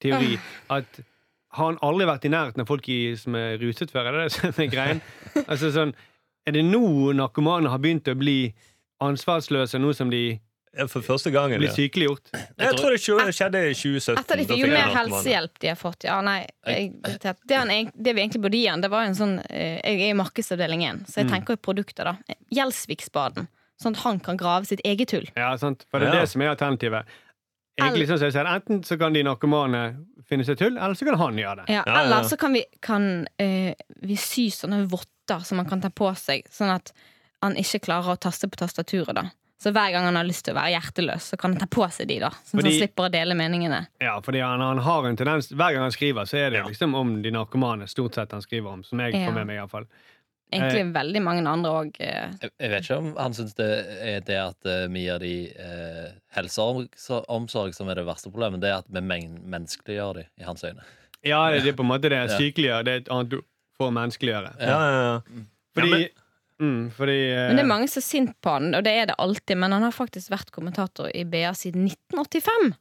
S3: teori. At har han aldri vært i nærheten av folk i, som er ruset før? Er det det som er greien? Altså sånn, Er det nå narkomane har begynt å bli ansvarsløse, nå som de
S2: Ja, For første gangen.
S3: blir
S2: Ja.
S3: sykeliggjort?
S2: Jeg tror det skj- skjedde i 2017.
S4: Etter
S2: da
S4: de fikk
S2: fikk
S4: jo
S2: jeg
S4: mer
S2: narkomane.
S4: helsehjelp de har fått. Ja, nei, jeg, irritert. det, han, egent- det vi egentlig burde gi han, det var en sånn eh, Jeg er i markedsavdeling 1, så jeg tenker jo produkter, da. Gjelsvikspaden. Sånn at han kan grave sitt eget hull.
S3: Ja, sant? For det er
S2: Ja.
S3: det som er alternativet. Egentlig sånn som jeg sier, Enten så kan de narkomane finne seg tull, eller så kan han gjøre det.
S4: Ja,
S2: Ja, ja.
S4: eller så kan vi, kan, eh, vi sy sånne votter som han kan ta på seg, sånn at han ikke klarer å taste på tastaturet, da. Så hver gang han har lyst til å være hjerteløs, så kan han ta på seg de, da. Sånn at han
S3: Fordi-
S4: slipper å dele meningene.
S3: Ja, fordi han, han har en tendens Hver gang han skriver, så er det liksom om de narkomane stort sett han skriver om. Som jeg
S4: Ja.
S3: får med meg, iallfall.
S4: Egentlig veldig mange andre eh, òg.
S6: Jeg, jeg vet ikke om han syns det er det at eh, vi gir de eh, helseomsorg som er det verste problemet. Det er at vi men menneskeliggjør de i hans øyne.
S3: Ja, det er på en måte det
S6: Ja.
S3: sykeligere. Det er et annet ord for menneskeliggjøre.
S2: Ja, ja, ja.
S3: Fordi,
S2: Ja,
S3: mm, fordi eh,
S4: Men det er mange som er sint på han, og det er det alltid. Men han har faktisk vært kommentator i BA siden 1985.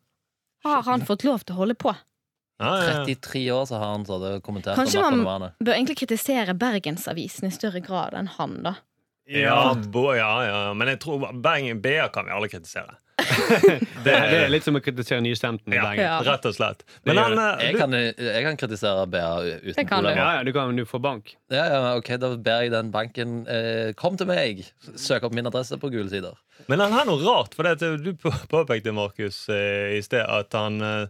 S4: Har han fått lov til å holde på?
S2: Ja, ja, ja.
S6: 33 år så har han så det kommentert
S4: Kanskje
S6: om
S4: man-
S6: narkomane.
S4: Bør egentlig kritisere Bergensavisen i større grad enn han, da.
S2: Ja, bo, ja, ja. Men jeg tror Bergen BA kan vi alle
S3: *laughs*
S2: kritisere.
S3: Det, det er litt som å kritisere nystemten i
S2: Ja,
S3: Bergen.
S4: Ja.
S2: Rett og slett. Men
S3: Det
S2: han, eh,
S6: Jeg
S2: du,
S6: kan, jeg kan kritisere BA uten
S4: Det kan du.
S3: Ja,
S6: problemer.
S3: ja, du kan, du får bank.
S6: Ja, ja, ok, Da ber jeg den banken eh, Kom til meg! Søk opp min adresse på gule sider.
S2: men han har noe rart, for det at du på- påpekte, Markus, eh, i sted at han, eh,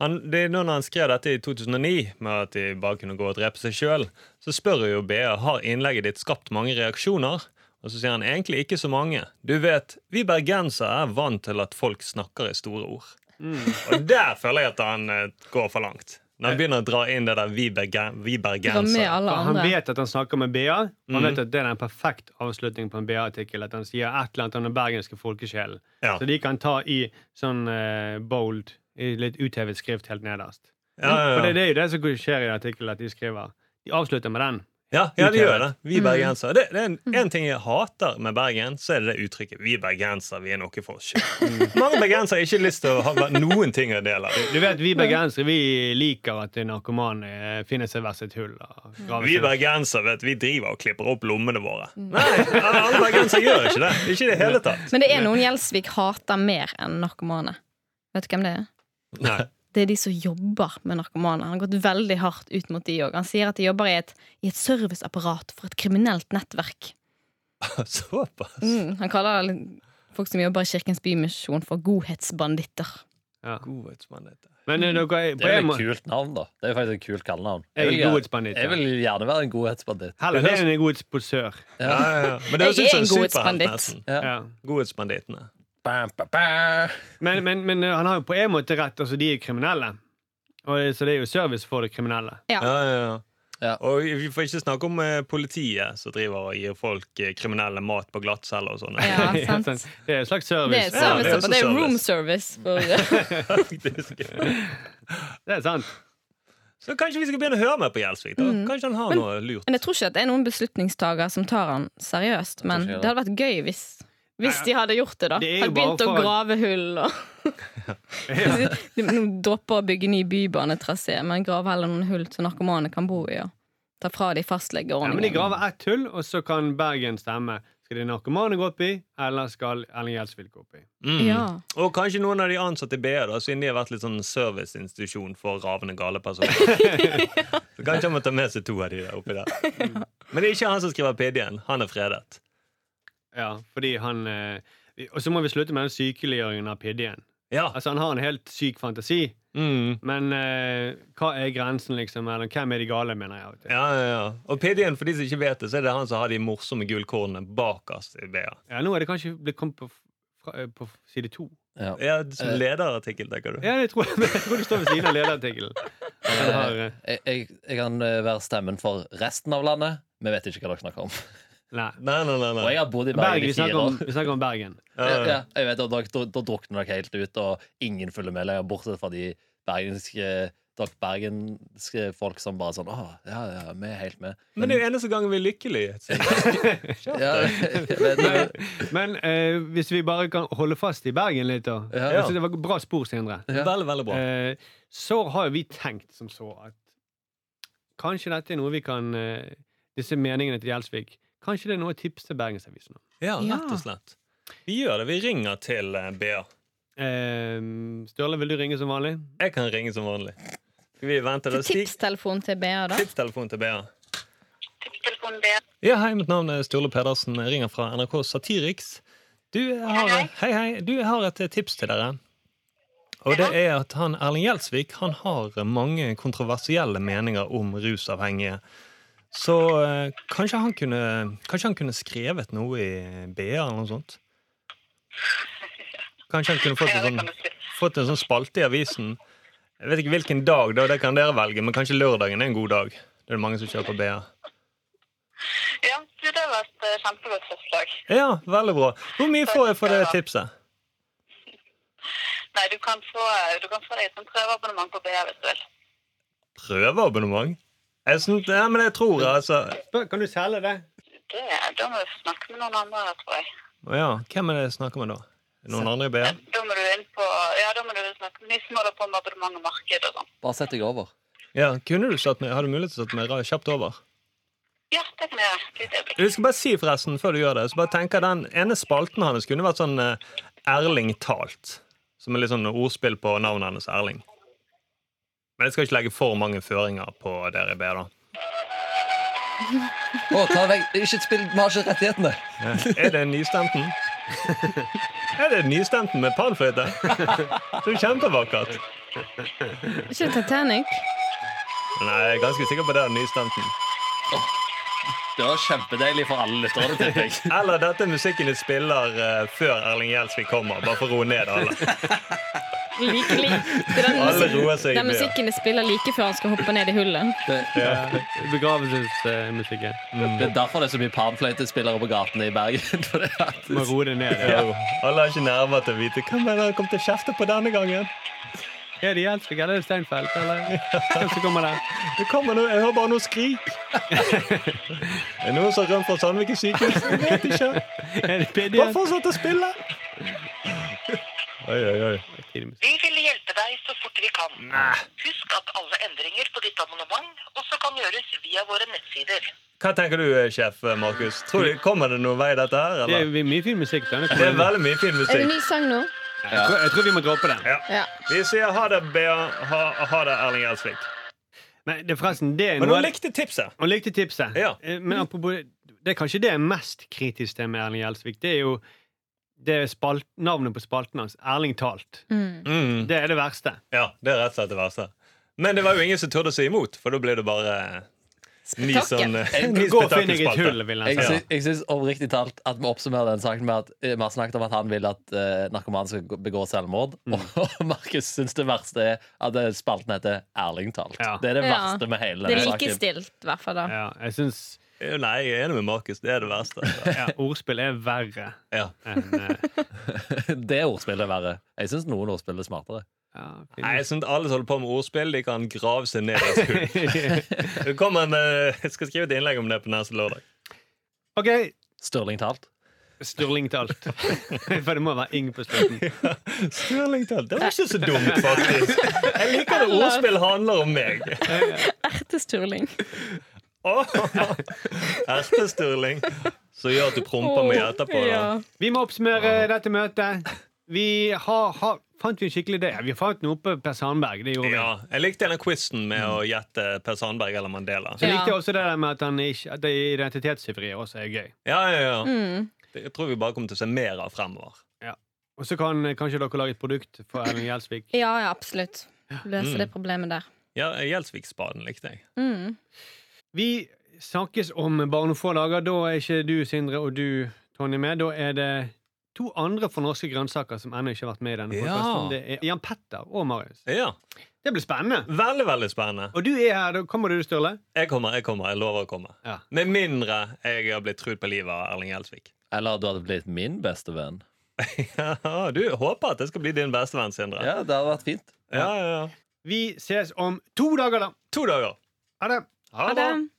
S2: han Det er nå når han skrev dette i 2009, med at de bare kunne gå og drepe seg sjøl, så spør jeg jo BA har innlegget ditt skapt mange reaksjoner. Og så sier han egentlig ikke så mange. Du vet, vi bergensere er vant til at folk snakker i store ord.
S3: Mm.
S2: Og der føler jeg at han eh, går for langt. Når han
S3: Eh.
S2: begynner å dra inn det der 'vi, bergen, vi
S4: Dra med
S2: bergensere'.
S4: alle
S3: For han
S4: andre.
S3: vet at han snakker med BA. og
S2: Mm.
S3: Han vet at det er en perfekt avslutning på en BA-artikkel. At han sier et eller annet om den bergenske folkesjelen.
S2: Ja.
S3: Så de kan ta i sånn eh, bold, i litt uthevet skrift helt nederst.
S2: Ja, ja, ja.
S3: For det, det er jo det som skjer i artikkelen, at de skriver. De avslutter med den.
S2: Ja, ja det
S3: Uthevet.
S2: gjør det. Vi bergensere. Det, det er en, en ting jeg hater med Bergen, så er det det uttrykket 'vi bergensere, vi er noe for oss sjøl'. Mange bergensere har ikke lyst til å ha noen ting å dele av.
S3: Du vet, Vi bergensere vi liker at narkomane finner seg hvert sitt hull. og graver
S2: Vi
S3: seg-
S2: bergensere vet, vi driver og klipper opp lommene våre. Nei, alle bergensere gjør ikke det. Ikke i det hele tatt.
S4: Men det er noen Gjelsvik hater mer enn narkomane. Vet du hvem det er?
S2: Nei.
S4: Det er de som jobber med narkomane. Han har gått veldig hardt ut mot de òg. Han sier at de jobber i et, i et serviceapparat for et kriminelt nettverk.
S2: Såpass.
S4: Mm, han kaller folk som jobber i Kirkens Bymisjon, for godhetsbanditter.
S3: Ja.
S2: Godhetsmandighet.
S3: Men eh, dere, er-
S6: Det
S3: på
S6: er
S3: en
S6: jo et
S3: måte
S6: kult navn, da. Det er jo faktisk et kult kallenavn.
S3: Jeg er
S6: gjerne-
S3: godhetsbanditt, ja.
S6: jeg vil gjerne være en godhetsbanditt.
S3: Heller det enn en god posør.
S2: Ja, ja, ja. Men det
S4: Jeg
S2: høres ut
S4: er
S2: som
S4: en
S2: en superhelt,
S4: godhetsbanditt.
S2: nesten.
S6: Ja.
S3: Ja.
S2: Godhetsbandittene.
S6: Bam, ba, ba.
S3: Men, men, men eh, han har jo på en måte rett. Altså, de er kriminelle. Og, eh, så det er jo service for de kriminelle.
S2: Ja, ja, ja.
S6: Ja.
S2: Og vi får ikke snakke om eh, politiet som driver og gir folk eh, kriminelle mat på glattcelle og sånn.
S3: *laughs*
S4: Ja, sant.
S3: Sånn. Det er en slags
S4: Det er,
S3: service.
S4: et
S2: Ja, det er
S4: service,
S2: også
S4: det er
S2: service.
S4: room service. For,
S2: Faktisk.
S3: Det er sant.
S2: Så kanskje vi skal begynne å høre mer på Gjelsvik? da Kanskje han har noe lurt?
S4: Mm. men jeg tror ikke at det er noen beslutningstaker som tar han seriøst. Men
S6: Kanskje, ja.
S4: det hadde vært gøy hvis, hvis de hadde gjort det, da.
S3: Det er jo
S4: Hadde begynt
S3: bare
S4: å
S3: for-
S4: grave hull og De de dropper å bygge ny bybanetrasé, men grav heller noen hull som narkomane kan bo i. Og ta fra de
S3: Ja, men de
S4: fastlegeordningen.
S3: graver ett hull, og så kan Bergen stemme. Skal de narkomane gå opp i, eller skal Erling Gjelsvik gå opp i?
S2: Mm.
S4: Ja.
S2: Og kanskje noen av de ansatte i BA, da, siden de har vært litt sånn serviceinstitusjon for ravende gale
S4: *laughs*
S2: personer. Så kanskje han må ta med seg to av de der oppi der. Men det er ikke han som skriver PD-en. Han er fredet.
S3: Ja, fordi han eh, vi- Og så må vi slutte med den sykeliggjøringen av PD-en.
S2: Ja.
S3: Altså, han har en helt syk fantasi,
S2: Mm.
S3: men eh, hva er grensen, liksom? Eller hvem er de gale, mener jeg. av og til?
S2: Ja, ja, ja. Og PD-en, for de som ikke vet det, så er det han som har de morsomme gullkornene bakerst i E. BA.
S3: Ja, nå er det kanskje blitt kommet på, fra, eh, på side to.
S6: Ja.
S2: Ja, som lederartikkel, tenker du.
S3: Ja, det tror jeg, *laughs* jeg tror det står ved siden av lederartikkelen. Han har, eh,
S6: Jeg, jeg, jeg kan eh, være stemmen for resten av landet. Vi vet ikke hva dere snakker om.
S3: Nei.
S2: Nei, nei, nei.
S6: Og
S2: nei.
S6: jeg har bodd i
S3: Bergen,
S6: Bergen
S3: vi
S6: i fire
S3: snakker, om,
S6: år.
S3: vi snakker om Bergen.
S2: Ja, ja.
S6: Ja, jeg vet, og da, da, da drukner dere helt ut, og ingen følger med lenger, bortsett fra de bergenske, dere bergenske folk som bare sånn Å, ja, ja, vi er helt med.
S2: Men det er jo eneste gangen vi er lykkelige. Så-
S6: Ja, *laughs* jeg vet, det.
S3: Men eh, hvis vi bare kan holde fast i Bergen litt, da.
S6: Ja.
S3: Jeg synes det var bra spor, Sindre.
S6: Ja.
S2: Veldig, veldig bra.
S3: Eh, så har jo vi tenkt som så at kanskje dette er noe vi kan eh, Disse meningene til Gjelsvik Kanskje det er noe å tipse Bergensavisen om.
S2: Ja,
S4: Ja.
S2: rett og slett. Vi gjør det. Vi ringer til eh, BA.
S3: Eh, Sturle, vil du ringe som vanlig?
S2: Jeg kan ringe som vanlig. Skal vi vente? Da? Stig,
S4: Tipstelefon til BA, da.
S2: tipstelefon til BA. Ja, hei, mitt navn er Sturle Pedersen. Jeg ringer fra NRK Satiriks. Du, jeg har, hei, hei. Du, jeg har et eh, tips til dere. Og det er at han, Erling Gjelsvik han har mange kontroversielle meninger om rusavhengige. Så
S7: *laughs*
S2: eh, kanskje, han kunne, kanskje han kunne skrevet noe i BA eller noe sånt? Kanskje han kunne fått
S7: Ja, det
S2: en,
S7: kan du si.
S2: sånn, fått en sånn spalte i avisen. Jeg vet ikke hvilken dag, da, det kan dere velge, men kanskje lørdagen er en god dag. Det er det mange som kjøper BA.
S7: Ja, du, det var et eh, kjempegodt forslag.
S2: Ja, veldig bra. Hvor mye får jeg for det tipset?
S7: Nei, du kan få, eh, du kan få deg et sånt prøveabonnement på BA hvis du vil.
S2: Prøveabonnement? Jeg, syns- ja, men jeg tror altså
S3: Spør, Kan du selge det?
S7: Det, da må du snakke med noen andre, tror jeg.
S2: Å Ja, hvem er det jeg snakker med da? Noen andre i BA?
S7: Da må du inn på Ja, da må du snakke med de som holder på med abonnement og marked og sånn.
S6: Bare sett deg over.
S2: Ja, kunne du satt med, Har du mulighet til å sette meg ra- kjapt over?
S7: Ja, det kan jeg gjøre. Et lite øyeblikk.
S2: Jeg skal bare si forresten, før du gjør det, så bare tenker jeg den ene spalten hans kunne vært sånn eh, Erling Talt. Som er litt sånn ordspill på navnet hennes Erling. Men jeg skal ikke legge for mange føringer på dere i B, da.
S6: Å, ta vekk. Ikke spill, Vi har ikke rettighetene.
S2: *laughs* Er det nystemten? Er det nystemten med panfløyte? Så kjempevakkert.
S4: Ikke Titanic?
S2: Nei, jeg er ganske sikker på det er nystemten.
S6: Det var kjempedeilig for alle lytterne, tipper jeg.
S2: Eller dette er musikken de spiller eh, før Erling Gjelsvik kommer, bare for å roe ned alle.
S4: Like, like. Det er den,
S2: Alle
S4: musikken-
S2: roer seg
S4: den
S2: ned.
S4: musikken jeg spiller like før han skal hoppe ned i hullet.
S3: Begravelsesmusikken.
S6: Det er derfor det er så mye panfløytespillere på gatene i Bergen. *laughs* For det er at-
S3: Må roe det ned.
S2: Ja. Alle har ikke nerver til å vite hvem er det han kom til å kjefte på denne gangen.
S3: Er det Gjelsvik eller er det Steinfeld? Eller? Hvem som kommer der?
S2: Det kommer noe, Jeg hører bare noe skrik. Det er noen som har rømt fra Sandviken sykehus. Jeg vet ikke.
S3: Er det PD?
S2: Bare fortsett å spille. Oi, oi, oi.
S7: Vi vil hjelpe deg så fort vi kan. Husk at alle endringer på ditt abonnement også kan gjøres via våre nettsider.
S2: Hva tenker du, sjef Markus? Tror du, Kommer det noen vei, dette her?
S3: Det
S2: Eller?
S3: er mye fin musikk. da.
S2: Det er veldig mye fin
S4: Er det
S2: musikk.
S4: ny sang nå?
S3: Jeg tror- Jeg tror vi må droppe den.
S4: Ja.
S2: Vi sier ha det, Bea. Ha, ha det, Erling Gjelsvik.
S3: Nei, det er forresten det er
S2: Men
S3: noe
S2: hun likte tipset.
S3: Hun likte tipset.
S2: Ja.
S3: Eh, Men apropos, det er kanskje det jeg er mest kritisk til med Erling Gjelsvik. Det er jo det er spalt, navnet på spalten hans. Erling Talt.
S2: Mm.
S3: Det er det
S2: *laughs*
S3: verste.
S2: Ja, det er rett og slett det verste. Men det var jo ingen som turde å si imot, for da ble det bare ny sånn
S4: Spektakel.
S2: ny
S3: *laughs* Gå og finn deg et
S2: spetakelspalte.
S3: hull, vil
S6: Jeg,
S3: jeg si.
S6: sy jeg syns oppriktig talt at vi oppsummerer den saken med at eh, vi har snakket om at han vil at uh, narkomane skal gå- begå selvmord. *laughs* Og Markus syns det verste er at eh, spalten heter Erling talt.
S3: Ja.
S6: Det er det
S4: Ja.
S6: verste med hele
S4: Det er
S6: denne
S4: like
S6: saken.
S4: stilt, i hvert fall da.
S3: Ja, jeg syns
S2: Eh, Nei, jeg er enig med Markus. Det er det verste.
S3: ja, ordspill er verre
S2: Ja.
S3: enn eh,
S6: *laughs* Det ordspillet er verre. Jeg syns noen ordspill er smartere.
S3: ja, fin-
S2: Nei, jeg synes Alle som holder på med ordspill, de kan grave seg ned i et hull. Det kommer en, eh, Jeg skal skrive et innlegg om det på neste lørdag.
S3: *laughs* OK,
S6: Stirling talt.
S3: Sturling Talt. *laughs* For det må være Ing på slutten.
S2: Stirlingtalt. Det var ikke så dumt, faktisk. Jeg liker det ordspill handler om meg.
S4: Ertesturling.
S2: Åh, Ertesturling. Som gjør at du promper meg etterpå. Da.
S4: Ja.
S3: Vi må oppsummere dette møtet. Vi har, har Fant vi en skikkelig idé? Ja, Vi fant noe på Per Sandberg. Det gjorde vi.
S2: Ja, jeg likte denne quizen med å gjette Per Sandberg eller Mandela.
S3: Så
S4: Ja.
S3: likte jeg også det der med at, han ikke, at det identitetstyveriet også er gøy.
S2: Ja, ja, ja. Det jeg tror vi bare kommer til å se mer av fremover.
S3: Og så kan eh, kanskje dere lage et produkt for Erling Gjelsvik.
S4: ja, ja, absolutt. Løse
S2: Mm.
S4: det problemet der.
S2: Ja, Gjelsviksbaden likte jeg.
S4: Mm.
S3: Vi snakkes om bare noen få dager. Da er ikke du, Sindre, og du, Tonje, med. Da er det to andre for norske grønnsaker som ennå ikke har vært med i denne
S2: Ja.
S3: podcasten. Det er Jan Petter og Marius.
S2: Ja,
S3: Det blir spennende.
S2: Veldig veldig spennende.
S3: Og du er her. da Kommer du, Sturle?
S2: Jeg kommer, jeg kommer, jeg lover å komme.
S3: Ja.
S2: Med mindre jeg har blitt trudd på livet av Erling Gjelsvik. *laughs*
S6: Eller du hadde blitt min beste venn.
S2: Ja, du håper at jeg skal bli din bestevenn, Sindre.
S6: Ja, det hadde vært fint.
S2: ja, ja, ja.
S3: Vi ses om to dager, da.
S2: To dager.
S3: Ha det.
S2: Ha
S4: Ha det.